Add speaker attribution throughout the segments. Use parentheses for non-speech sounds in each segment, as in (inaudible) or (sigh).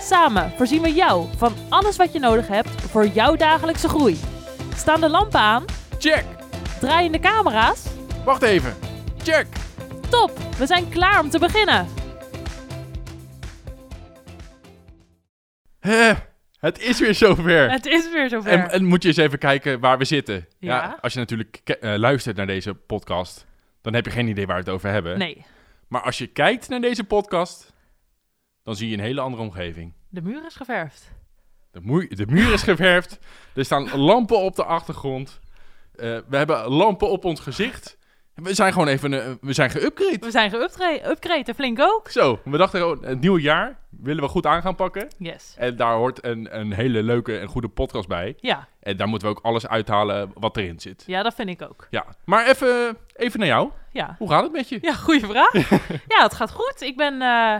Speaker 1: Samen voorzien we jou van alles wat je nodig hebt voor jouw dagelijkse groei. Staan de lampen aan?
Speaker 2: Check!
Speaker 1: Draaien de camera's?
Speaker 2: Wacht even. Check!
Speaker 1: Top! We zijn klaar om te beginnen.
Speaker 2: Hè, het is weer zover.
Speaker 1: Het is weer zover.
Speaker 2: En, en moet je eens even kijken waar we zitten. Ja.
Speaker 1: Ja.
Speaker 2: als je natuurlijk ke- eh, luistert naar deze podcast, dan heb je geen idee waar we het over hebben.
Speaker 1: Nee,
Speaker 2: Maar als je kijkt naar deze podcast, dan zie je een hele andere omgeving.
Speaker 1: de muur is geverfd.
Speaker 2: De, moe- de muur is geverfd, er staan lampen op de achtergrond. Eh, we hebben lampen op ons gezicht. En We zijn gewoon even eh, we zijn geüpgrade.
Speaker 1: We zijn geupgraden, flink ook.
Speaker 2: Zo, we dachten gewoon, het nieuwe jaar willen we goed aan gaan pakken.
Speaker 1: Yes.
Speaker 2: En daar hoort een, een hele leuke en goede podcast bij.
Speaker 1: Ja,
Speaker 2: En daar moeten we ook alles uithalen wat erin zit.
Speaker 1: ja dat vind ik ook.
Speaker 2: Ja, maar even, even naar jou.
Speaker 1: Ja.
Speaker 2: Hoe gaat het met je?
Speaker 1: Ja, goede
Speaker 2: (laughs)
Speaker 1: vraag. ja, het gaat goed. Ik ben eh,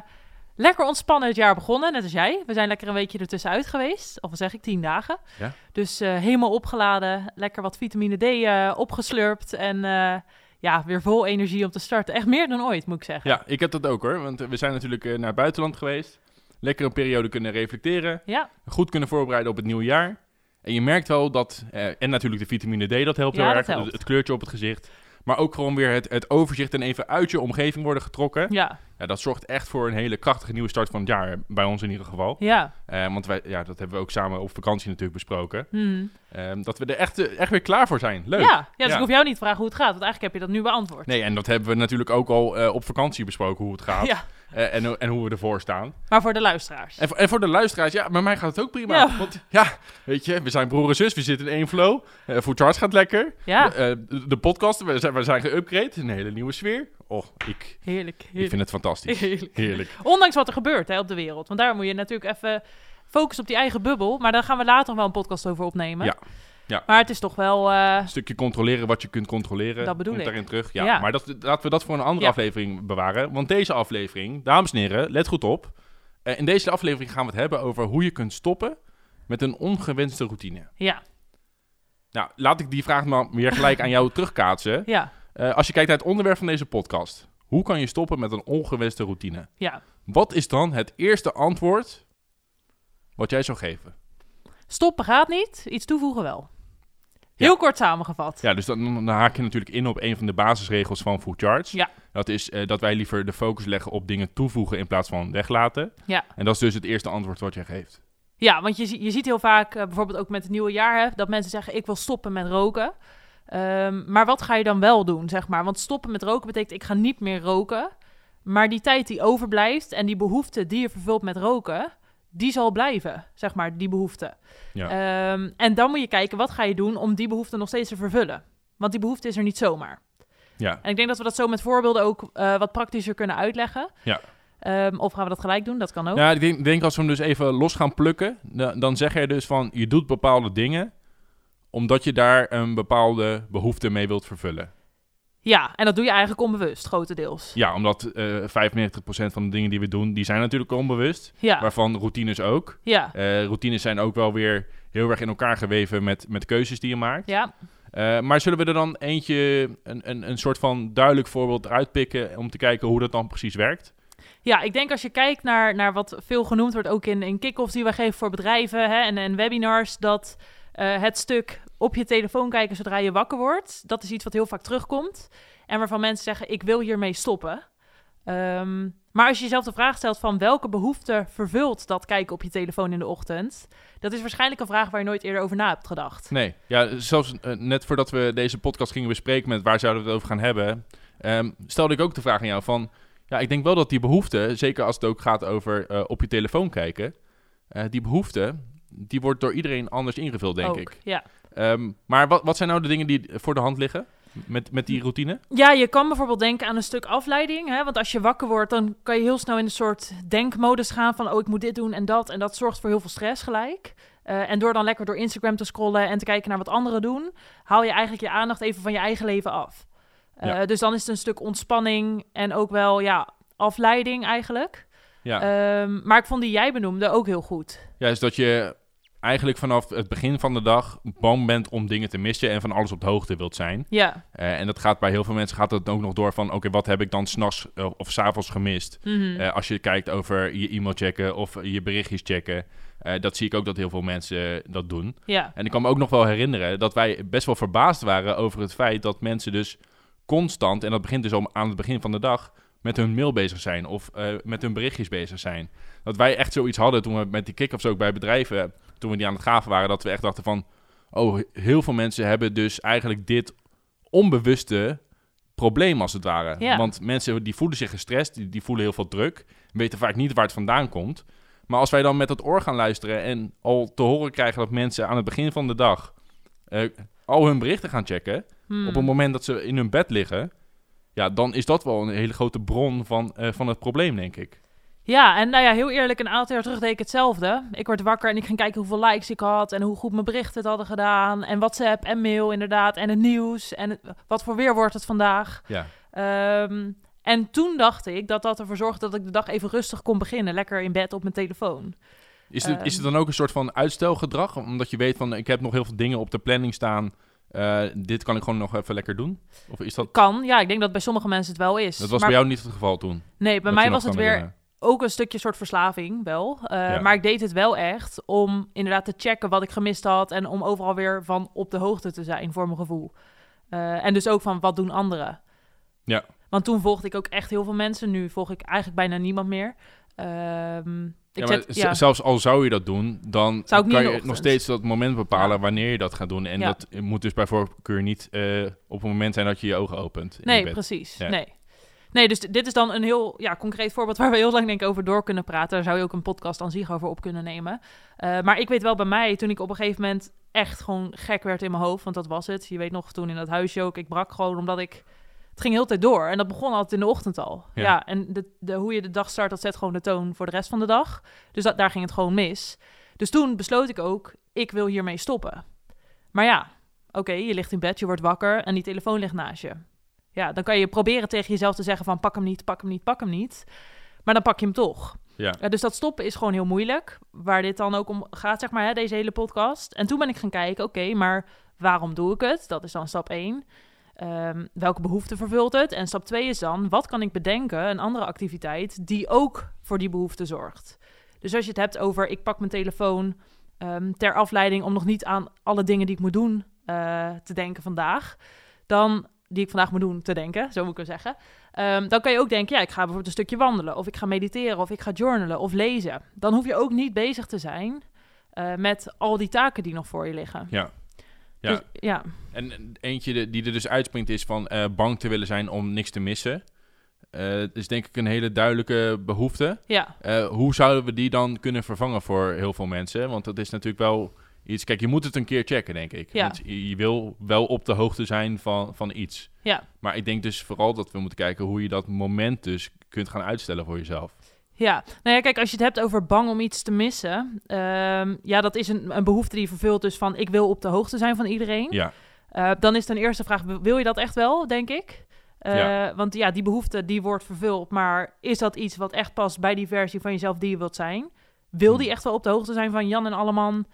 Speaker 1: lekker ontspannen het jaar begonnen, net als jij. We zijn lekker een weekje ertussenuit geweest, of wat zeg ik, tien dagen.
Speaker 2: Ja.
Speaker 1: Dus eh, helemaal opgeladen, lekker wat vitamine D eh, opgeslurpt en eh, ja, weer vol energie om te starten. Echt meer dan ooit, moet ik zeggen.
Speaker 2: Ja, ik heb dat ook hoor. Want eh, we zijn natuurlijk eh, naar het buitenland geweest. Lekker een periode kunnen reflecteren.
Speaker 1: Ja,
Speaker 2: goed kunnen voorbereiden op het nieuwe jaar. En je merkt wel dat, eh, en natuurlijk de vitamine D, dat helpt
Speaker 1: Ja,
Speaker 2: heel
Speaker 1: dat
Speaker 2: erg,
Speaker 1: helpt.
Speaker 2: Het, het kleurtje op het gezicht. Maar ook gewoon weer het, het overzicht en even uit je omgeving worden getrokken.
Speaker 1: ja,
Speaker 2: Ja, dat zorgt echt voor een hele krachtige nieuwe start van het jaar, eh, bij ons in ieder geval.
Speaker 1: ja.
Speaker 2: Eh, want wij, ja, dat hebben we ook samen op vakantie natuurlijk besproken.
Speaker 1: Hm.
Speaker 2: Ehm, dat we er echt, eh, echt weer klaar voor zijn. Leuk.
Speaker 1: Ja, ja, dus
Speaker 2: Ja.
Speaker 1: ik hoef jou niet te vragen hoe het gaat, want eigenlijk heb je dat nu beantwoord.
Speaker 2: Nee, en dat hebben we natuurlijk ook al eh, op vakantie besproken, hoe het gaat.
Speaker 1: Ja,
Speaker 2: Eh, en, en hoe we ervoor staan.
Speaker 1: maar voor de luisteraars.
Speaker 2: En voor, en voor de luisteraars, ja, bij mij gaat het ook prima.
Speaker 1: Ja.
Speaker 2: Want ja, weet je, we zijn broer en zus, we zitten in één flow. Eh Food Charts gaat lekker.
Speaker 1: Ja,
Speaker 2: De, eh, de- de podcast, we zijn, we zijn geüpgrade, een hele nieuwe sfeer. Och, ik,
Speaker 1: heerlijk,
Speaker 2: ik
Speaker 1: heerlijk.
Speaker 2: vind het fantastisch.
Speaker 1: heerlijk.
Speaker 2: Heerlijk.
Speaker 1: Ondanks wat er gebeurt hè, op de wereld. Want daar moet je natuurlijk even focussen op die eigen bubbel. Maar daar gaan we later nog wel een podcast over opnemen.
Speaker 2: Ja, ja.
Speaker 1: Maar het is toch wel... eh,
Speaker 2: Een stukje controleren wat je kunt controleren.
Speaker 1: Dat bedoel
Speaker 2: Komt
Speaker 1: ik.
Speaker 2: daarin terug. Ja,
Speaker 1: Ja.
Speaker 2: Maar dat, laten we dat voor een andere
Speaker 1: Ja.
Speaker 2: aflevering bewaren. Want deze aflevering, dames en heren, let goed op. Eh, in deze aflevering gaan we het hebben over hoe je kunt stoppen met een ongewenste routine.
Speaker 1: ja,
Speaker 2: Nou, laat ik die vraag maar weer gelijk aan jou terugkaatsen.
Speaker 1: ja,
Speaker 2: Eh, als je kijkt naar het onderwerp van deze podcast. Hoe kan je stoppen met een ongewenste routine?
Speaker 1: ja.
Speaker 2: Wat is dan het eerste antwoord wat jij zou geven?
Speaker 1: Stoppen gaat niet, iets toevoegen wel. Heel kort samengevat.
Speaker 2: Ja, dus dan, dan haak je natuurlijk in op een van de basisregels van Food Charts.
Speaker 1: Ja.
Speaker 2: Dat is eh, dat wij liever de focus leggen op dingen toevoegen in plaats van weglaten.
Speaker 1: Ja.
Speaker 2: En dat is dus het eerste antwoord wat jij geeft.
Speaker 1: Ja, want je, zie- je ziet heel vaak, eh, bijvoorbeeld ook met het nieuwe jaar, hè, dat mensen zeggen: ik wil stoppen met roken. Ehm, maar wat ga je dan wel doen, zeg maar? Want stoppen met roken betekent: ik ga niet meer roken. Maar die tijd die overblijft en die behoefte die je vervult met roken, die zal blijven, zeg maar, die behoefte.
Speaker 2: Ja.
Speaker 1: Ehm, en dan moet je kijken: wat ga je doen om die behoefte nog steeds te vervullen? Want die behoefte is er niet zomaar.
Speaker 2: Ja.
Speaker 1: En ik denk dat we dat zo met voorbeelden ook eh, wat praktischer kunnen uitleggen.
Speaker 2: Ja.
Speaker 1: Ehm, of gaan we dat gelijk doen? Dat kan ook.
Speaker 2: Ja, ik denk, denk als we hem dus even los gaan plukken, da- dan zeg je dus van je doet bepaalde dingen omdat je daar een bepaalde behoefte mee wilt vervullen.
Speaker 1: Ja, en dat doe je eigenlijk onbewust, grotendeels.
Speaker 2: Ja, omdat eh 95% van de dingen die we doen, die zijn natuurlijk onbewust.
Speaker 1: Ja,
Speaker 2: Waarvan routines ook.
Speaker 1: ja,
Speaker 2: Eh, routines zijn ook wel weer heel erg in elkaar geweven met, met keuzes die je maakt.
Speaker 1: ja.
Speaker 2: Eh, maar zullen we er dan eentje, een, een, een soort van duidelijk voorbeeld eruit pikken om te kijken hoe dat dan precies werkt?
Speaker 1: Ja, ik denk als je kijkt naar, naar wat veel genoemd wordt, ook in, in kick-offs die we geven voor bedrijven hè, en, en webinars, dat eh, het stuk op je telefoon kijken zodra je wakker wordt, dat is iets wat heel vaak terugkomt. En waarvan mensen zeggen, ik wil hiermee stoppen. Ehm, maar als je jezelf de vraag stelt van welke behoefte vervult dat kijken op je telefoon in de ochtend, dat is waarschijnlijk een vraag waar je nooit eerder over na hebt gedacht.
Speaker 2: Nee, ja, zelfs eh, net voordat we deze podcast gingen bespreken met waar zouden we het over gaan hebben, ehm, stelde ik ook de vraag aan jou van, ja, ik denk wel dat die behoefte, zeker als het ook gaat over eh, op je telefoon kijken, eh, die behoefte, die wordt door iedereen anders ingevuld, denk
Speaker 1: Ook,
Speaker 2: ik.
Speaker 1: Ja.
Speaker 2: Ehm, maar wat, wat zijn nou de dingen die voor de hand liggen met, met die routine?
Speaker 1: Ja, je kan bijvoorbeeld denken aan een stuk afleiding. Hè? Want als je wakker wordt, dan kan je heel snel in een soort denkmodus gaan van... oh, ik moet dit doen en dat. En dat zorgt voor heel veel stress gelijk. Ehm, Eh, en door dan lekker door Instagram te scrollen en te kijken naar wat anderen doen, haal je eigenlijk je aandacht even van je eigen leven af. Eh,
Speaker 2: Ja.
Speaker 1: Dus dan is het een stuk ontspanning en ook wel ja, afleiding eigenlijk.
Speaker 2: Ja.
Speaker 1: Ehm, maar ik vond die jij benoemde ook heel goed.
Speaker 2: Ja, is dat je eigenlijk vanaf het begin van de dag bang bent om dingen te missen en van alles op de hoogte wilt zijn.
Speaker 1: Ja.
Speaker 2: Eh, en dat gaat bij heel veel mensen gaat dat ook nog door van oké, wat heb ik dan s'nachts eh, of s'avonds gemist?
Speaker 1: Mhm.
Speaker 2: Eh, als je kijkt over je e-mail checken of je berichtjes checken. eh, dat zie ik ook dat heel veel mensen eh, dat doen.
Speaker 1: ja.
Speaker 2: En ik kan me ook nog wel herinneren dat wij best wel verbaasd waren over het feit dat mensen dus constant, en dat begint dus al aan het begin van de dag, met hun mail bezig zijn of eh, met hun berichtjes bezig zijn. Dat wij echt zoiets hadden toen we met die kick-offs ook bij bedrijven, toen we die aan het gaven waren, dat we echt dachten van, oh, heel veel mensen hebben dus eigenlijk dit onbewuste probleem als het ware.
Speaker 1: Ja.
Speaker 2: Want mensen die voelen zich gestrest, die, die voelen heel veel druk, weten vaak niet waar het vandaan komt. Maar als wij dan met dat oor gaan luisteren en al te horen krijgen dat mensen aan het begin van de dag eh, al hun berichten gaan checken,
Speaker 1: Hmm.
Speaker 2: op het moment dat ze in hun bed liggen, ja, dan is dat wel een hele grote bron van, eh, van het probleem, denk ik.
Speaker 1: Ja, en nou ja, heel eerlijk, een aantal jaar terug deed ik hetzelfde. Ik werd wakker en ik ging kijken hoeveel likes ik had en hoe goed mijn berichten het hadden gedaan. En WhatsApp en mail inderdaad en het nieuws en het- wat voor weer wordt het vandaag.
Speaker 2: Ja,
Speaker 1: Ehm, en toen dacht ik dat dat ervoor zorgde dat ik de dag even rustig kon beginnen. Lekker in bed op mijn telefoon.
Speaker 2: Is het, is het
Speaker 1: Ehm.
Speaker 2: dan ook een soort van uitstelgedrag? Omdat je weet van, ik heb nog heel veel dingen op de planning staan. eh, dit kan ik gewoon nog even lekker doen? Of is dat...
Speaker 1: Kan, ja, ik denk dat bij sommige mensen het wel is.
Speaker 2: Dat was
Speaker 1: Maar-
Speaker 2: bij jou niet het geval toen.
Speaker 1: Nee, bij
Speaker 2: Dat
Speaker 1: mij
Speaker 2: je nog
Speaker 1: was het
Speaker 2: kan
Speaker 1: weer
Speaker 2: herinneren.
Speaker 1: ook een stukje soort verslaving wel. Eh,
Speaker 2: Ja.
Speaker 1: Maar ik deed het wel echt om inderdaad te checken wat ik gemist had. En om overal weer van op de hoogte te zijn voor mijn gevoel. Eh, en dus ook van wat doen anderen.
Speaker 2: Ja.
Speaker 1: Want toen volgde ik ook echt heel veel mensen. Nu volg ik eigenlijk bijna niemand meer. Ehm, ik
Speaker 2: Ja, maar
Speaker 1: zet-
Speaker 2: z-
Speaker 1: ja.
Speaker 2: Zelfs al zou je dat doen, dan
Speaker 1: Zou ik niet
Speaker 2: kan
Speaker 1: in de
Speaker 2: je nog
Speaker 1: ochtend.
Speaker 2: steeds dat moment bepalen wanneer je dat gaat doen. En
Speaker 1: Ja.
Speaker 2: dat moet dus bij voorkeur niet eh, op het moment zijn dat je je ogen opent. in je
Speaker 1: Nee,
Speaker 2: bed.
Speaker 1: precies.
Speaker 2: Ja.
Speaker 1: Nee. nee, dus d- dit is dan een heel ja, concreet voorbeeld waar we heel lang denk ik over door kunnen praten. Daar zou je ook een podcast aan zich over op kunnen nemen. Eh, maar ik weet wel bij mij, toen ik op een gegeven moment echt gewoon gek werd in mijn hoofd, want dat was het. Je weet nog, toen in dat huisje ook, ik brak gewoon omdat ik... Het ging heel de tijd door en dat begon altijd in de ochtend al.
Speaker 2: Ja.
Speaker 1: Ja, en de, de, hoe je de dag start, dat zet gewoon de toon voor de rest van de dag. Dus dat, daar ging het gewoon mis. Dus toen besloot ik ook, ik wil hiermee stoppen. Maar ja, oké, je ligt in bed, je wordt wakker en die telefoon ligt naast je. Ja, dan kan je proberen tegen jezelf te zeggen van pak hem niet, pak hem niet, pak hem niet. Maar dan pak je hem toch.
Speaker 2: Ja.
Speaker 1: Eh, dus dat stoppen is gewoon heel moeilijk. Waar dit dan ook om gaat, zeg maar, hè, deze hele podcast. En toen ben ik gaan kijken, oké, maar waarom doe ik het? Dat is dan stap 1. welke behoefte vervult het? En stap 2 is dan, wat kan ik bedenken, een andere activiteit, die ook voor die behoefte zorgt. Dus als je het hebt over, ik pak mijn telefoon ehm, ter afleiding om nog niet aan alle dingen die ik moet doen eh, te denken vandaag, dan die ik vandaag moet doen te denken, zo moet ik wel zeggen. Ehm, dan kan je ook denken, ja, ik ga bijvoorbeeld een stukje wandelen, of ik ga mediteren, of ik ga journalen, of lezen. Dan hoef je ook niet bezig te zijn eh, met al die taken die nog voor je liggen.
Speaker 2: Ja. Ja.
Speaker 1: Dus, ja.
Speaker 2: En eentje de- die er dus uitspringt is van eh, bang te willen zijn om niks te missen. Eh is denk ik een hele duidelijke behoefte.
Speaker 1: ja.
Speaker 2: Eh, hoe zouden we die dan kunnen vervangen voor heel veel mensen? Want dat is natuurlijk wel iets... Kijk, je moet het een keer checken, denk ik.
Speaker 1: Ja.
Speaker 2: Want je je wil wel op de hoogte zijn van, van iets.
Speaker 1: Ja.
Speaker 2: Maar ik denk dus vooral dat we moeten kijken hoe je dat moment dus kunt gaan uitstellen voor jezelf.
Speaker 1: Ja, nou ja, kijk, als je het hebt over bang om iets te missen. ehm, ja, dat is een, een behoefte die je vervult dus van ik wil op de hoogte zijn van iedereen.
Speaker 2: Ja,
Speaker 1: Eh, dan is ten eerste vraag, wil wil je dat echt wel, denk ik? Eh,
Speaker 2: Ja.
Speaker 1: Want ja, die behoefte die wordt vervuld. Maar is dat iets wat echt past bij die versie van jezelf die je wilt zijn? Wil die
Speaker 2: Hmm.
Speaker 1: echt wel op de hoogte zijn van Jan en Alleman?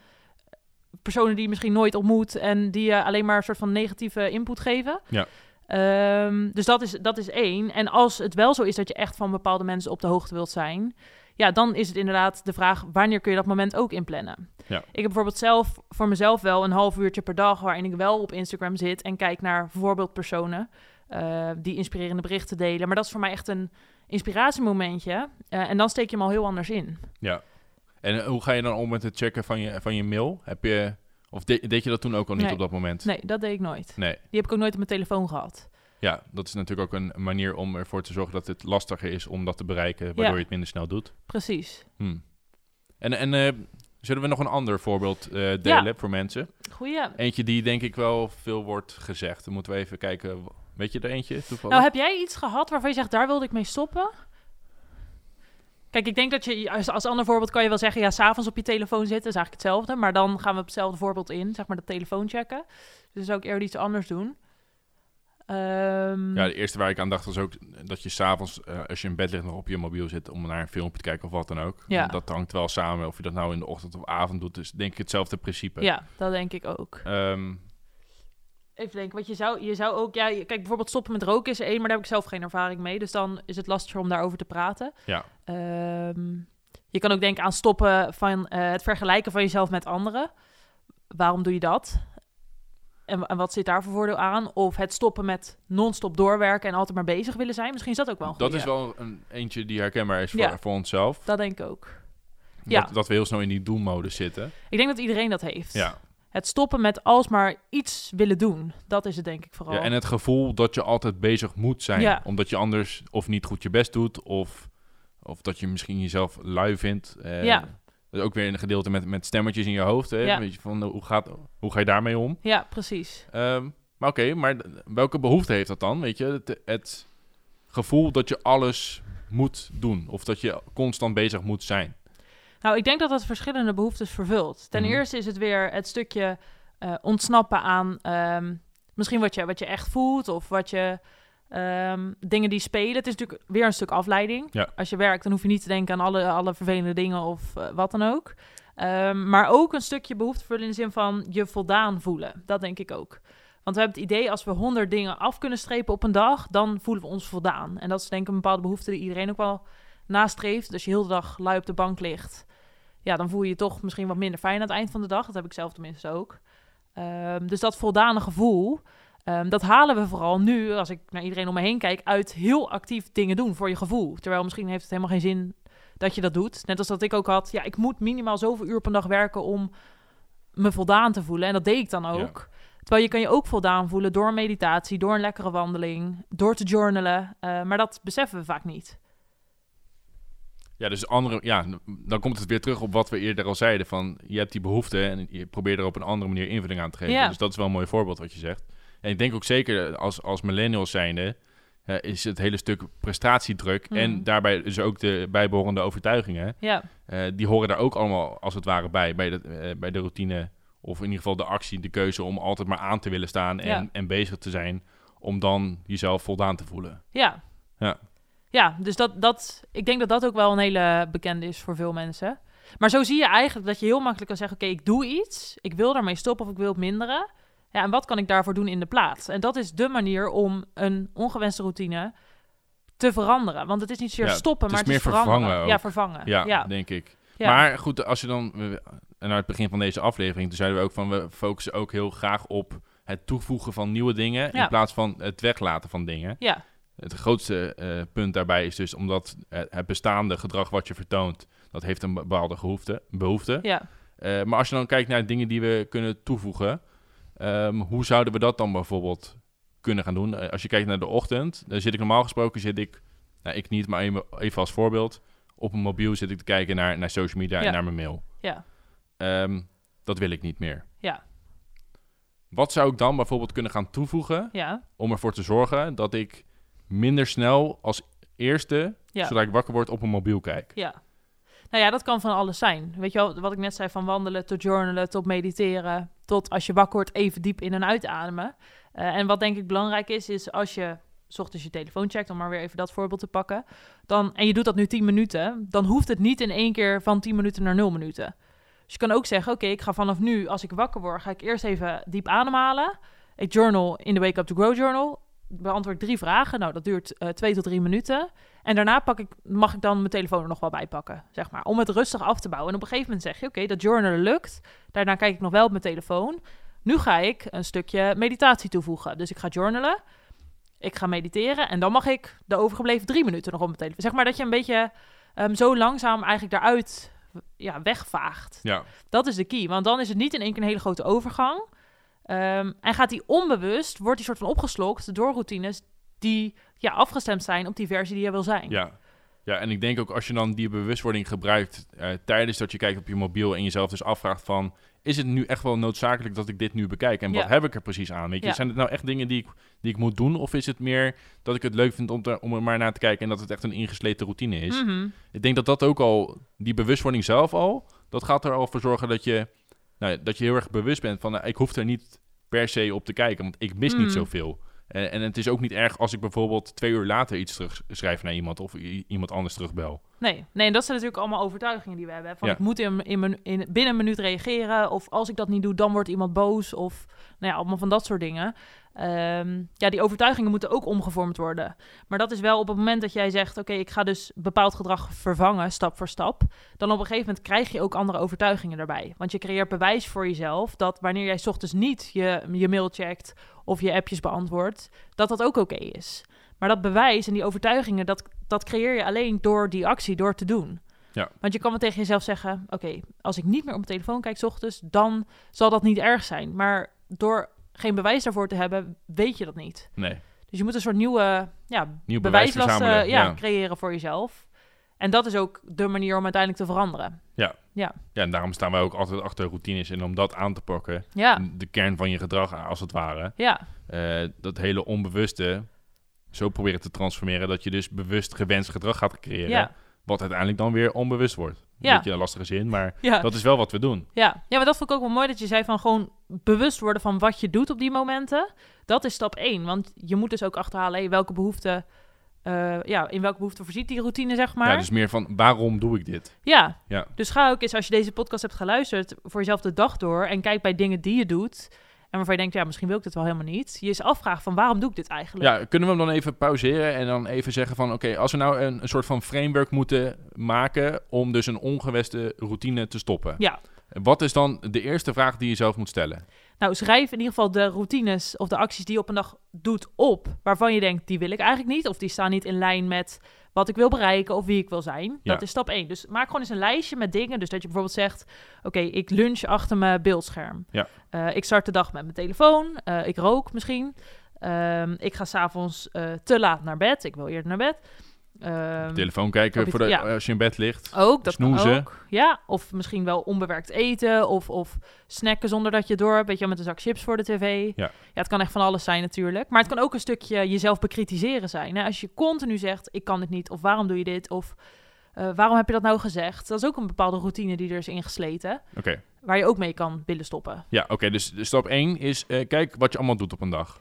Speaker 1: Personen die je misschien nooit ontmoet en die je alleen maar een soort van negatieve input geven.
Speaker 2: Ja.
Speaker 1: Ehm, dus dat is, dat is één. En als het wel zo is dat je echt van bepaalde mensen op de hoogte wilt zijn, ja, dan is het inderdaad de vraag: wanneer kun je dat moment ook inplannen?
Speaker 2: Ja.
Speaker 1: Ik heb bijvoorbeeld zelf voor mezelf wel een half uurtje per dag waarin ik wel op Instagram zit en kijk naar bijvoorbeeld personen eh, die inspirerende berichten delen. Maar dat is voor mij echt een inspiratiemomentje. Eh, en dan steek je hem al heel anders in.
Speaker 2: ja. En eh, hoe ga je dan om met het checken van je, van je mail? Heb je, of de- deed je dat toen ook al niet
Speaker 1: Nee.
Speaker 2: op dat moment?
Speaker 1: Nee, dat deed ik nooit.
Speaker 2: Nee.
Speaker 1: Die heb ik ook nooit op mijn telefoon gehad.
Speaker 2: Ja, dat is natuurlijk ook een manier om ervoor te zorgen dat het lastiger is om dat te bereiken, waardoor
Speaker 1: Ja.
Speaker 2: je het minder snel doet.
Speaker 1: Precies.
Speaker 2: Hm. En, en eh, zullen we nog een ander voorbeeld eh, delen
Speaker 1: Ja.
Speaker 2: voor mensen?
Speaker 1: Goeie.
Speaker 2: Eentje die denk ik wel veel wordt gezegd. Dan moeten we even kijken. Weet je er eentje toevallig?
Speaker 1: Nou, heb jij iets gehad waarvan je zegt, daar wilde ik mee stoppen? Kijk, ik denk dat je als, als ander voorbeeld kan je wel zeggen, ja, s'avonds op je telefoon zitten is eigenlijk hetzelfde. Maar dan gaan we op hetzelfde voorbeeld in, zeg maar dat telefoon checken. Dus dan zou ik eerder iets anders doen. Ehm,
Speaker 2: Ja, de eerste waar ik aan dacht was ook dat je s'avonds, avonds als je in bed ligt, nog op je mobiel zit om naar een filmpje te kijken of wat dan ook.
Speaker 1: Ja.
Speaker 2: Dat hangt wel samen, of je dat nou in de ochtend of avond doet. Dus denk ik hetzelfde principe.
Speaker 1: ja, dat denk ik ook.
Speaker 2: Ehm,
Speaker 1: Even denken, want je zou, je zou ook, ja, je- kijk bijvoorbeeld stoppen met roken is er één, maar daar heb ik zelf geen ervaring mee. Dus dan is het lastiger om daarover te praten.
Speaker 2: Ja.
Speaker 1: Ehm, je kan ook denken aan stoppen van eh, het vergelijken van jezelf met anderen. Waarom doe je dat? En, wa- en wat zit daar voor voordeel aan? Of het stoppen met non-stop doorwerken en altijd maar bezig willen zijn. Misschien is dat ook wel een
Speaker 2: dat
Speaker 1: goeie.
Speaker 2: is wel een eentje die herkenbaar is voor,
Speaker 1: Ja.
Speaker 2: voor onszelf.
Speaker 1: Dat denk ik ook. Ja.
Speaker 2: Dat, dat we heel snel in die doelmodus zitten.
Speaker 1: Ik denk dat iedereen dat heeft.
Speaker 2: Ja.
Speaker 1: Het stoppen met alsmaar iets willen doen. Dat is het denk ik vooral.
Speaker 2: ja. En het gevoel dat je altijd bezig moet zijn.
Speaker 1: Oh. Ja.
Speaker 2: Omdat je anders of niet goed je best doet, of, of dat je misschien jezelf lui vindt. Eh,
Speaker 1: Ja.
Speaker 2: Dat is ook weer een gedeelte met, met stemmetjes in je hoofd. Hè?
Speaker 1: Ja.
Speaker 2: Weet je, van, nou, hoe, gaat, hoe ga je daarmee om?
Speaker 1: ja precies.
Speaker 2: Ehm, maar oké, maar d- welke behoefte heeft dat dan? Weet je, het, het gevoel dat je alles moet doen of dat je constant bezig moet zijn.
Speaker 1: Nou, ik denk dat dat verschillende behoeftes vervult. Ten
Speaker 2: Mhm.
Speaker 1: eerste is het weer het stukje eh, ontsnappen aan ehm, misschien wat je, wat je echt voelt of wat je ehm, dingen die spelen. Het is natuurlijk weer een stuk afleiding.
Speaker 2: Ja.
Speaker 1: Als je werkt, dan hoef je niet te denken aan alle, alle vervelende dingen of eh, wat dan ook. Ehm, maar ook een stukje behoefte vervullen in de zin van je voldaan voelen. Dat denk ik ook. Want we hebben het idee, als we honderd dingen af kunnen strepen op een dag, dan voelen we ons voldaan. En dat is denk ik een bepaalde behoefte die iedereen ook wel nastreeft. Dus je heel de dag lui op de bank ligt, ja, dan voel je je toch misschien wat minder fijn aan het eind van de dag. Dat heb ik zelf tenminste ook. Ehm, dus dat voldane gevoel, ehm, dat halen we vooral nu, als ik naar iedereen om me heen kijk, uit heel actief dingen doen voor je gevoel. Terwijl misschien heeft het helemaal geen zin dat je dat doet. Net als dat ik ook had, ja, ik moet minimaal zoveel uur per dag werken om me voldaan te voelen. En dat deed ik dan ook. Terwijl je kan je ook voldaan voelen door meditatie, door een lekkere wandeling, door te journalen. Eh, maar dat beseffen we vaak niet.
Speaker 2: Ja, dus andere, ja, dan komt het weer terug op wat we eerder al zeiden. Van je hebt die behoefte en je probeert er op een andere manier invulling aan te geven.
Speaker 1: Ja.
Speaker 2: Dus dat is wel een mooi voorbeeld wat je zegt. En ik denk ook zeker als, als millennials zijnde. eh, is het hele stuk prestatiedruk
Speaker 1: Mhm.
Speaker 2: en daarbij dus ook de bijbehorende overtuigingen.
Speaker 1: Ja,
Speaker 2: Eh, die horen daar ook allemaal als het ware bij, bij de, eh, bij de routine. Of in ieder geval de actie, de keuze om altijd maar aan te willen staan en,
Speaker 1: Ja.
Speaker 2: en bezig te zijn. Om dan jezelf voldaan te voelen.
Speaker 1: Ja.
Speaker 2: Ja.
Speaker 1: Ja, dus dat, dat, ik denk dat dat ook wel een hele bekende is voor veel mensen. Maar zo zie je eigenlijk dat je heel makkelijk kan zeggen... oké, ik doe iets, ik wil daarmee stoppen of ik wil het minderen. Ja, en wat kan ik daarvoor doen in de plaats? En dat is de manier om een ongewenste routine te veranderen. Want het is niet zozeer
Speaker 2: Ja,
Speaker 1: stoppen,
Speaker 2: het
Speaker 1: maar
Speaker 2: is
Speaker 1: het
Speaker 2: meer
Speaker 1: is veranderen.
Speaker 2: vervangen ook.
Speaker 1: Ja, vervangen.
Speaker 2: Ja,
Speaker 1: ja.
Speaker 2: denk ik.
Speaker 1: ja.
Speaker 2: Maar goed, als je dan... we- En aan het begin van deze aflevering, toen zeiden we ook van... We focussen ook heel graag op het toevoegen van nieuwe dingen...
Speaker 1: Ja.
Speaker 2: in plaats van het weglaten van dingen.
Speaker 1: Ja.
Speaker 2: Het grootste eh, punt daarbij is dus omdat eh, het bestaande gedrag wat je vertoont... dat heeft een bepaalde behoefte. behoefte.
Speaker 1: ja.
Speaker 2: Eh, maar als je dan kijkt naar dingen die we kunnen toevoegen, ehm, hoe zouden we dat dan bijvoorbeeld kunnen gaan doen? Eh, als je kijkt naar de ochtend, dan zit ik normaal gesproken, zit ik, nou ik niet, maar even, even als voorbeeld, op een mobiel zit ik te kijken naar, naar social media
Speaker 1: Ja.
Speaker 2: en naar mijn mail.
Speaker 1: Ja.
Speaker 2: Ehm, dat wil ik niet meer.
Speaker 1: Ja.
Speaker 2: Wat zou ik dan bijvoorbeeld kunnen gaan toevoegen
Speaker 1: ja.
Speaker 2: om ervoor te zorgen dat ik minder snel als eerste,
Speaker 1: Ja.
Speaker 2: zodra ik wakker word, op een mobiel kijk?
Speaker 1: Ja. Nou ja, dat kan van alles zijn. Weet je wel, wat ik net zei van wandelen tot journalen tot mediteren. Tot als je wakker wordt even diep in en uitademen. Eh, en wat denk ik belangrijk is, is als je 's ochtends je telefoon checkt, om maar weer even dat voorbeeld te pakken. Dan, en je doet dat nu 10 minuten, dan hoeft het niet in één keer van 10 minuten naar 0 minuten. Dus je kan ook zeggen, oké, ik ga vanaf nu, als ik wakker word, ga ik eerst even diep ademhalen. Ik journal in de Wake Up to Grow Journal. Beantwoord drie vragen. Nou, dat duurt eh, twee tot drie minuten. En daarna pak ik, mag ik dan mijn telefoon er nog wel bij pakken, zeg maar. Om het rustig af te bouwen. En op een gegeven moment zeg je, oké, dat journalen lukt. Daarna kijk ik nog wel op mijn telefoon. Nu ga ik een stukje meditatie toevoegen. Dus ik ga journalen, ik ga mediteren... en dan mag ik de overgebleven drie minuten nog op mijn telefoon. Zeg maar dat je een beetje ehm, zo langzaam eigenlijk daaruit ja, wegvaagt.
Speaker 2: Ja,
Speaker 1: Dat is de key, want dan is het niet in één keer een hele grote overgang. Ehm, en gaat die onbewust, wordt die soort van opgeslokt door routines... die ja, afgestemd zijn op die versie die je wil zijn.
Speaker 2: Ja. ja, en ik denk ook als je dan die bewustwording gebruikt eh, tijdens dat je kijkt op je mobiel en jezelf dus afvraagt van is het nu echt wel noodzakelijk dat ik dit nu bekijk? En wat
Speaker 1: Ja.
Speaker 2: heb ik er precies aan? Weet je?
Speaker 1: Ja.
Speaker 2: Zijn het nou echt dingen die ik, die ik moet doen? Of is het meer dat ik het leuk vind om, er- om er maar naar te kijken en dat het echt een ingesleten routine is?
Speaker 1: Mhm.
Speaker 2: Ik denk dat dat ook al, die bewustwording zelf al, dat gaat er al voor zorgen dat je, nou, ja, dat je heel erg bewust bent van, nou, ik hoef er niet per se op te kijken, want ik mis
Speaker 1: Mm.
Speaker 2: niet zoveel. En, en het is ook niet erg als ik bijvoorbeeld twee uur later iets terugschrijf naar iemand of i- iemand anders terugbel.
Speaker 1: Nee, nee, en dat zijn natuurlijk allemaal overtuigingen die we hebben. hè. Van
Speaker 2: Ja.
Speaker 1: ik moet in, in mijn, in, binnen een minuut reageren. Of als ik dat niet doe, dan wordt iemand boos. Of nou ja, allemaal van dat soort dingen. Ehm, ja, die overtuigingen moeten ook omgevormd worden. Maar dat is wel op het moment dat jij zegt: Oké, ik ga dus bepaald gedrag vervangen, stap voor stap. Dan op een gegeven moment krijg je ook andere overtuigingen daarbij. Want je creëert bewijs voor jezelf dat wanneer jij 's ochtends niet je, je mail checkt of je appjes beantwoordt, dat dat ook oké is. Maar dat bewijs en die overtuigingen, dat, dat creëer je alleen door die actie, door te doen.
Speaker 2: Ja.
Speaker 1: Want je kan wel tegen jezelf zeggen: Oké, als ik niet meer op mijn telefoon kijk 's ochtends, dan zal dat niet erg zijn. Maar door geen bewijs daarvoor te hebben, weet je dat niet.
Speaker 2: Nee,
Speaker 1: Dus je moet een soort nieuwe ja,
Speaker 2: nieuw bewijs
Speaker 1: bewijslast eh,
Speaker 2: verzamelen.
Speaker 1: ja,
Speaker 2: ja.
Speaker 1: creëren voor jezelf. En dat is ook de manier om uiteindelijk te veranderen.
Speaker 2: Ja, en daarom staan wij ook altijd achter routines. En om dat aan te pakken,
Speaker 1: Ja,
Speaker 2: de kern van je gedrag als het ware,
Speaker 1: ja.
Speaker 2: eh, dat hele onbewuste, zo proberen te transformeren dat je dus bewust gewenst gedrag gaat creëren.
Speaker 1: Ja.
Speaker 2: Wat uiteindelijk dan weer onbewust wordt.
Speaker 1: Ja.
Speaker 2: Beetje een lastige zin, maar
Speaker 1: (laughs) Ja.
Speaker 2: dat is wel wat we doen.
Speaker 1: Ja. ja, maar dat vond ik ook wel mooi dat je zei van gewoon bewust worden van wat je doet op die momenten. Dat is stap één, want je moet dus ook achterhalen hé, welke behoeften, eh, ja, in welke behoeften voorziet die routine, zeg maar.
Speaker 2: Ja, dus meer van waarom doe ik dit?
Speaker 1: Ja.
Speaker 2: Ja.
Speaker 1: Dus ga ook eens, als je deze podcast hebt geluisterd, voor jezelf de dag door en kijk bij dingen die je doet en waarvan je denkt, ja, misschien wil ik dit wel helemaal niet. Je eens afvragen van waarom doe ik dit eigenlijk?
Speaker 2: Ja, kunnen we hem dan even pauzeren en dan even zeggen van... oké, als we nou een, een soort van framework moeten maken... om dus een ongewenste routine te stoppen.
Speaker 1: Ja.
Speaker 2: Wat is dan de eerste vraag die je zelf moet stellen?
Speaker 1: Nou, schrijf in ieder geval de routines of de acties die je op een dag doet op, waarvan je denkt, die wil ik eigenlijk niet, of die staan niet in lijn met wat ik wil bereiken of wie ik wil zijn.
Speaker 2: Ja.
Speaker 1: Dat is stap 1. Dus maak gewoon eens een lijstje met dingen. Dus dat je bijvoorbeeld zegt, oké, ik lunch achter mijn beeldscherm.
Speaker 2: Ja.
Speaker 1: Eh, ik start de dag met mijn telefoon, Eh, ik rook misschien. Ehm, ik ga s'avonds eh te laat naar bed, ik wil eerder naar bed. Ehm,
Speaker 2: Telefoon
Speaker 1: op
Speaker 2: kijken
Speaker 1: je-
Speaker 2: voor de, eh,
Speaker 1: ja. Oh.
Speaker 2: als je in bed ligt.
Speaker 1: ook, dat kan
Speaker 2: Snoezen.
Speaker 1: ook. Ja, of misschien wel onbewerkt eten of, of snacken zonder dat je het door hebt. Weet je, wel, met een zak chips voor de tv.
Speaker 2: Ja.
Speaker 1: het kan echt van alles zijn natuurlijk. Maar het kan ook een stukje jezelf bekritiseren zijn. Hè? Als je continu zegt, ik kan dit niet, of waarom doe je dit, of eh, waarom heb je dat nou gezegd? Dat is ook een bepaalde routine die er is ingesleten,
Speaker 2: Oké,
Speaker 1: waar je ook mee kan willen stoppen.
Speaker 2: ja, oké. dus de stap 1 is eh, kijk wat je allemaal doet op een dag.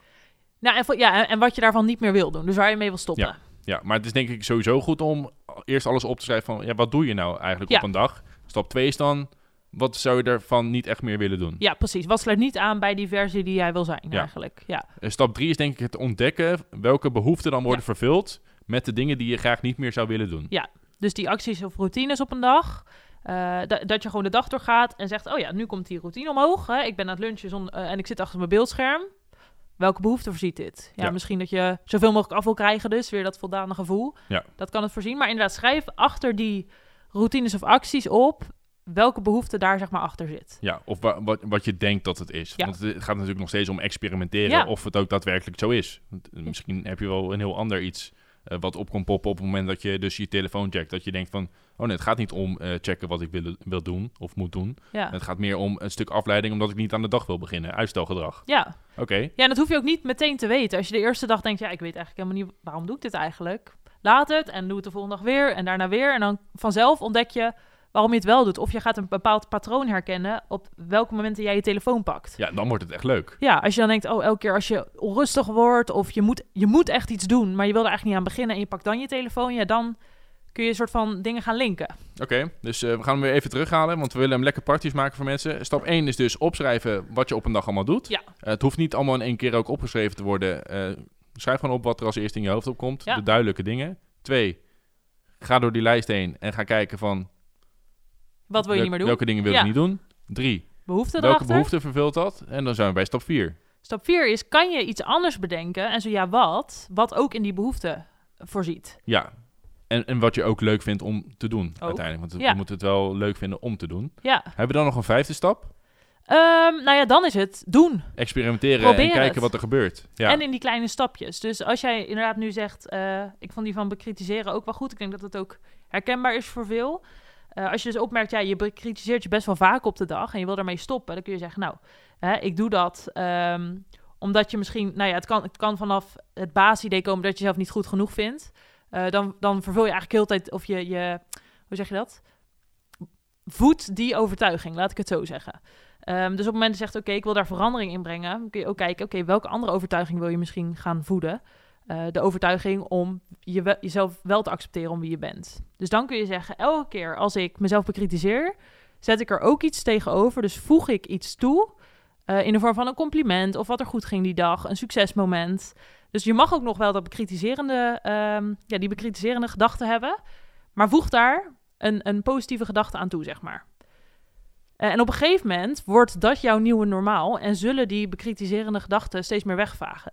Speaker 1: Nou, en, vo- ja, en- en wat je daarvan niet meer wil doen, dus waar je mee wil stoppen.
Speaker 2: Ja, maar het is denk ik sowieso goed om eerst alles op te schrijven van... ja, wat doe je nou eigenlijk
Speaker 1: Ja.
Speaker 2: op een dag? Stap 2 is dan, wat zou je daarvan niet echt meer willen doen?
Speaker 1: Ja, precies. Wat sluit niet aan bij die versie die jij wil zijn
Speaker 2: Ja.
Speaker 1: eigenlijk. Ja.
Speaker 2: Eh, Stap 3 is denk ik het ontdekken welke behoeften dan worden vervuld met de dingen die je graag niet meer zou willen doen.
Speaker 1: Dus die acties of routines op een dag. eh, da- dat je gewoon de dag doorgaat en zegt: Oh ja, nu komt die routine omhoog. Hè? Ik ben aan het lunchen zon- eh, en ik zit achter mijn beeldscherm. Welke behoefte voorziet dit? Ja,
Speaker 2: Ja.
Speaker 1: Misschien dat je zoveel mogelijk af wil krijgen, dus weer dat voldane gevoel.
Speaker 2: Ja.
Speaker 1: Dat kan het voorzien. Maar inderdaad, schrijf achter die routines of acties op welke behoefte daar zeg maar achter zit.
Speaker 2: Ja, of wa- wat, wat je denkt dat het is.
Speaker 1: Ja.
Speaker 2: Want het gaat natuurlijk nog steeds om experimenteren
Speaker 1: Ja.
Speaker 2: of het ook daadwerkelijk zo is. Want, eh, Misschien heb je wel een heel ander iets eh, wat op kan poppen op het moment dat je dus je telefoon checkt. Dat je denkt van, oh nee, het gaat niet om eh, checken wat ik wil, wil doen of moet doen.
Speaker 1: Ja.
Speaker 2: Het gaat meer om een stuk afleiding omdat ik niet aan de dag wil beginnen. Uitstelgedrag.
Speaker 1: Ja.
Speaker 2: Oké,
Speaker 1: ja, en dat hoef je ook niet meteen te weten. Als je de eerste dag denkt: Ja, ik weet eigenlijk helemaal niet waarom doe ik dit eigenlijk. Laat het en doe het de volgende dag weer en daarna weer. En dan vanzelf ontdek je waarom je het wel doet. Of je gaat een bepaald patroon herkennen op welke momenten jij je telefoon pakt. Ja.
Speaker 2: ja, dan wordt het echt leuk.
Speaker 1: als je dan denkt, oh, elke keer als je onrustig wordt of je moet, je moet echt iets doen, maar je wil er eigenlijk niet aan beginnen en je pakt dan je telefoon, ja, dan kun je een soort van dingen gaan linken.
Speaker 2: Oké, dus eh, we gaan hem weer even terughalen, want we willen hem lekker praktisch maken voor mensen. Stap 1 is dus opschrijven wat je op een dag allemaal doet.
Speaker 1: Ja.
Speaker 2: Eh, het hoeft niet allemaal in één keer ook opgeschreven te worden. Eh, schrijf gewoon op wat er als eerste in je hoofd opkomt,
Speaker 1: Ja.
Speaker 2: de duidelijke dingen. Twee, ga door die lijst heen en ga kijken van...
Speaker 1: Wat wil
Speaker 2: wel-
Speaker 1: je niet meer doen?
Speaker 2: Welke dingen wil je
Speaker 1: Ja.
Speaker 2: niet doen? Drie,
Speaker 1: Behoefte
Speaker 2: welke
Speaker 1: erachter?
Speaker 2: behoefte vervult dat? En dan zijn we bij stap 4.
Speaker 1: Stap 4 is, kan je iets anders bedenken? En zo ja, wat? Wat ook in die behoefte voorziet.
Speaker 2: Ja, en, en wat je ook leuk vindt om te doen uiteindelijk. Want we
Speaker 1: Ja.
Speaker 2: moeten het wel leuk vinden om te doen.
Speaker 1: Ja.
Speaker 2: Hebben we dan nog een vijfde stap?
Speaker 1: Ehm, nou ja, dan is het doen.
Speaker 2: Experimenteren
Speaker 1: Probeer
Speaker 2: en kijken
Speaker 1: het.
Speaker 2: wat er gebeurt. Ja.
Speaker 1: En in die kleine stapjes. Dus als jij inderdaad nu zegt, eh, ik vond die van bekritiseren ook wel goed. Ik denk dat dat ook herkenbaar is voor veel. Eh, Eh, als je dus opmerkt, ja, je bekritiseert je best wel vaak op de dag en je wil daarmee stoppen, dan kun je zeggen, nou, hè, ik doe dat ehm, omdat je misschien, nou ja, het kan, het kan vanaf het baasidee komen dat je jezelf niet goed genoeg vindt. Eh, dan, dan vervul je eigenlijk heel de tijd, of je, je, hoe zeg je dat? Voedt die overtuiging, laat ik het zo zeggen. Ehm, dus op het moment dat je zegt, oké, ik wil daar verandering in brengen, dan kun je ook kijken, oké, welke andere overtuiging wil je misschien gaan voeden? Eh, de overtuiging om je we- jezelf wel te accepteren om wie je bent. Dus dan kun je zeggen, elke keer als ik mezelf bekritiseer, zet ik er ook iets tegenover. Dus voeg ik iets toe eh, in de vorm van een compliment of wat er goed ging die dag, een succesmoment. Dus je mag ook nog wel dat bekritiserende, ehm, ja, die bekritiserende gedachten hebben, maar voeg daar een, een positieve gedachte aan toe, zeg maar. Eh, en op een gegeven moment wordt dat jouw nieuwe normaal en zullen die bekritiserende gedachten steeds meer wegvagen.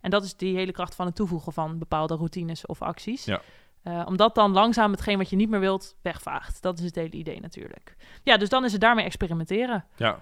Speaker 1: En dat is die hele kracht van het toevoegen van bepaalde routines of acties.
Speaker 2: Ja.
Speaker 1: Eh, omdat dan langzaam hetgeen wat je niet meer wilt wegvaagt. Dat is het hele idee natuurlijk. Ja, dus dan is het daarmee experimenteren.
Speaker 2: Ja.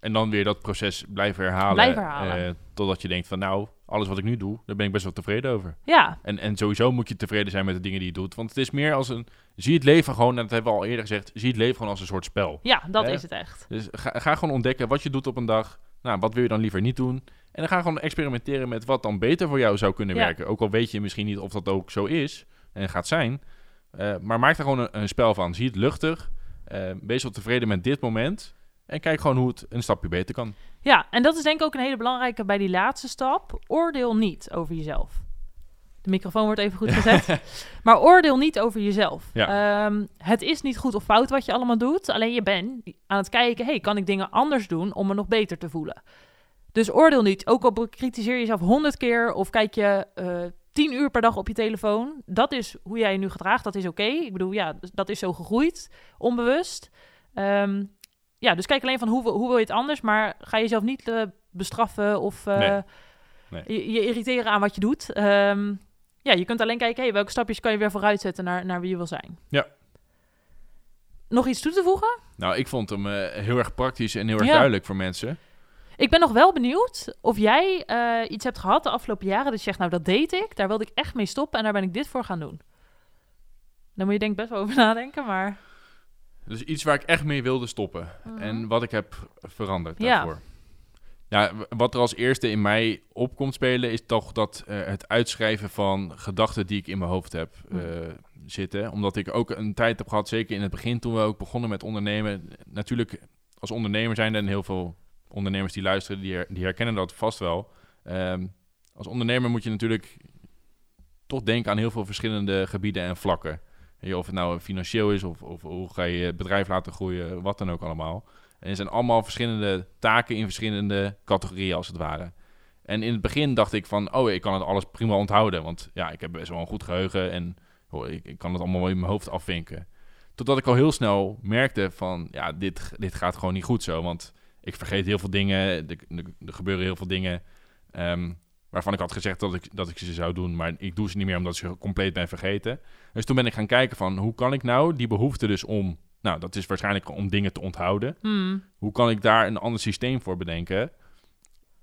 Speaker 2: En dan weer dat proces blijven herhalen.
Speaker 1: Blijven herhalen.
Speaker 2: eh, totdat je denkt van nou, alles wat ik nu doe, daar ben ik best wel tevreden over.
Speaker 1: Ja,
Speaker 2: En, en sowieso moet je tevreden zijn met de dingen die je doet. Want het is meer als een... Zie het leven gewoon, en dat hebben we al eerder gezegd... Zie het leven gewoon als een soort spel.
Speaker 1: ja dat
Speaker 2: Ja.
Speaker 1: is het echt.
Speaker 2: Dus ga, ga gewoon ontdekken wat je doet op een dag. Nou, wat wil je dan liever niet doen? En dan ga gewoon experimenteren met wat dan beter voor jou zou kunnen
Speaker 1: Ja.
Speaker 2: werken. Ook al weet je misschien niet of dat ook zo is en gaat zijn. Eh, maar maak er gewoon een, een spel van. Zie het luchtig. Eh, wees wel tevreden met dit moment. En kijk gewoon hoe het een stapje beter kan.
Speaker 1: Ja, en dat is denk ik ook een hele belangrijke bij die laatste stap. Oordeel niet over jezelf. De microfoon wordt even goed gezet. maar oordeel niet over jezelf. Ehm, het is niet goed of fout wat je allemaal doet. Alleen je bent aan het kijken, hey, kan ik dingen anders doen om me nog beter te voelen? Dus oordeel niet. Ook al bekritiseer je jezelf honderd keer of kijk je eh, tien uur per dag op je telefoon. Dat is hoe jij je nu gedraagt. Dat is oké. Ik bedoel, ja, dat is zo gegroeid, onbewust. Ehm, ja, dus kijk alleen van hoe, wil- hoe wil je het anders, maar ga jezelf niet eh, bestraffen of eh,
Speaker 2: Nee. Nee.
Speaker 1: Je, je irriteren aan wat je doet. Ehm, ja, je kunt alleen kijken, hey, welke stapjes kan je weer vooruit zetten naar, naar wie je wil zijn.
Speaker 2: Ja.
Speaker 1: Nog iets toe te voegen?
Speaker 2: Nou, ik vond hem eh, heel erg praktisch en heel erg
Speaker 1: Ja.
Speaker 2: duidelijk voor mensen.
Speaker 1: Ik ben nog wel benieuwd of jij eh, iets hebt gehad de afgelopen jaren dat je zegt, nou dat deed ik, daar wilde ik echt mee stoppen en daar ben ik dit voor gaan doen. Dan moet je denk ik best wel over (laughs) nadenken, maar
Speaker 2: Dus iets waar ik echt mee wilde stoppen.
Speaker 1: Mhm.
Speaker 2: En wat ik heb veranderd
Speaker 1: Ja.
Speaker 2: daarvoor. Ja, w- wat er als eerste in mij op komt spelen... is toch dat eh, het uitschrijven van gedachten die ik in mijn hoofd heb eh, zitten. Omdat ik ook een tijd heb gehad, zeker in het begin... toen we ook begonnen met ondernemen. Natuurlijk, als ondernemer zijn er en heel veel ondernemers die luisteren... die, her- die herkennen dat vast wel. Ehm, als ondernemer moet je natuurlijk toch denken aan heel veel verschillende gebieden en vlakken. Weet je, Of het nou financieel is, of, of hoe ga je je bedrijf laten groeien, wat dan ook allemaal. En er zijn allemaal verschillende taken in verschillende categorieën, als het ware. En in het begin dacht ik van, oh, ik kan het alles prima onthouden. Want ja, ik heb best wel een goed geheugen en oh, ik, ik kan het allemaal wel in mijn hoofd afvinken. Totdat ik al heel snel merkte van, ja, dit, dit gaat gewoon niet goed zo. Want ik vergeet heel veel dingen, er, er- er gebeuren heel veel dingen... ehm, waarvan ik had gezegd dat ik, dat ik ze zou doen, maar ik doe ze niet meer omdat ik ze compleet ben vergeten. Dus toen ben ik gaan kijken van hoe kan ik nou die behoefte dus om, nou dat is waarschijnlijk om dingen te onthouden,
Speaker 1: hmm,
Speaker 2: hoe kan ik daar een ander systeem voor bedenken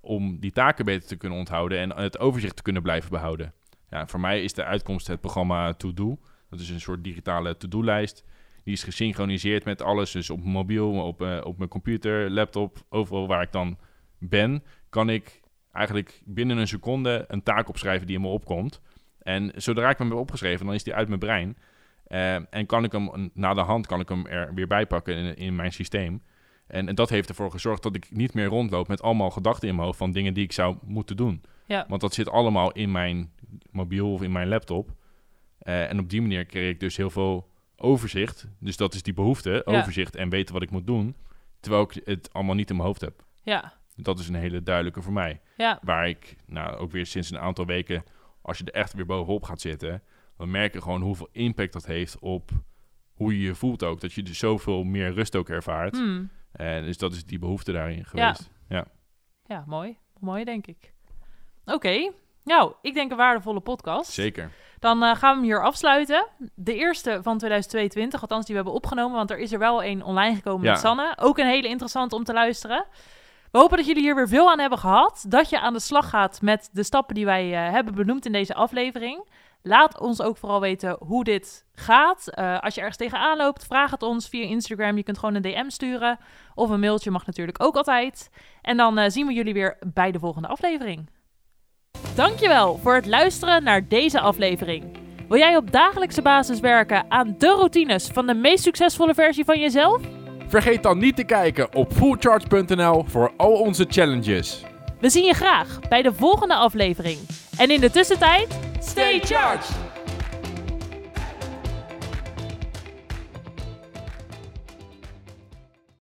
Speaker 2: om die taken beter te kunnen onthouden en het overzicht te kunnen blijven behouden. Ja, voor mij is de uitkomst het programma To Do. Dat is een soort digitale to-do-lijst. Die is gesynchroniseerd met alles, dus op mijn mobiel, op, eh, op mijn computer, laptop, overal waar ik dan ben, kan ik eigenlijk binnen een seconde een taak opschrijven die in me opkomt. En zodra ik hem heb opgeschreven, dan is die uit mijn brein. Eh, en kan ik hem na de hand kan ik hem er weer bij pakken in, in mijn systeem. En, en dat heeft ervoor gezorgd dat ik niet meer rondloop met allemaal gedachten in mijn hoofd van dingen die ik zou moeten doen.
Speaker 1: ja.
Speaker 2: Want dat zit allemaal in mijn mobiel of in mijn laptop. Eh, en op die manier kreeg ik dus heel veel overzicht. Dus dat is die behoefte,
Speaker 1: Ja.
Speaker 2: overzicht en weten wat ik moet doen. Terwijl ik het allemaal niet in mijn hoofd heb.
Speaker 1: ja.
Speaker 2: Dat is een hele duidelijke voor mij.
Speaker 1: Ja,
Speaker 2: Waar ik, nou ook weer sinds een aantal weken, als je er echt weer bovenop gaat zitten, dan merk je gewoon hoeveel impact dat heeft op hoe je je voelt ook. Dat je dus zoveel meer rust ook ervaart.
Speaker 1: hmm.
Speaker 2: En dus dat is die behoefte daarin geweest. Ja,
Speaker 1: Ja, mooi. Mooi, denk ik. Oké. Nou, ik denk een waardevolle podcast.
Speaker 2: zeker.
Speaker 1: Dan eh, gaan we hem hier afsluiten. De eerste van 2022, althans die we hebben opgenomen, want er is er wel één online gekomen
Speaker 2: Ja.
Speaker 1: met Sanne. Ook een hele interessante om te luisteren. We hopen dat jullie hier weer veel aan hebben gehad. Dat je aan de slag gaat met de stappen die wij eh, hebben benoemd in deze aflevering. Laat ons ook vooral weten hoe dit gaat. Eh, als je ergens tegenaan loopt, vraag het ons via Instagram. Je kunt gewoon een DM sturen. Of een mailtje mag natuurlijk ook altijd. En dan eh, zien we jullie weer bij de volgende aflevering. Dankjewel voor het luisteren naar deze aflevering. Wil jij op dagelijkse basis werken aan de routines van de meest succesvolle versie van jezelf?
Speaker 2: Vergeet dan niet te kijken op fullcharge.nl voor al onze challenges.
Speaker 1: We zien je graag bij de volgende aflevering. En in de tussentijd, stay charged!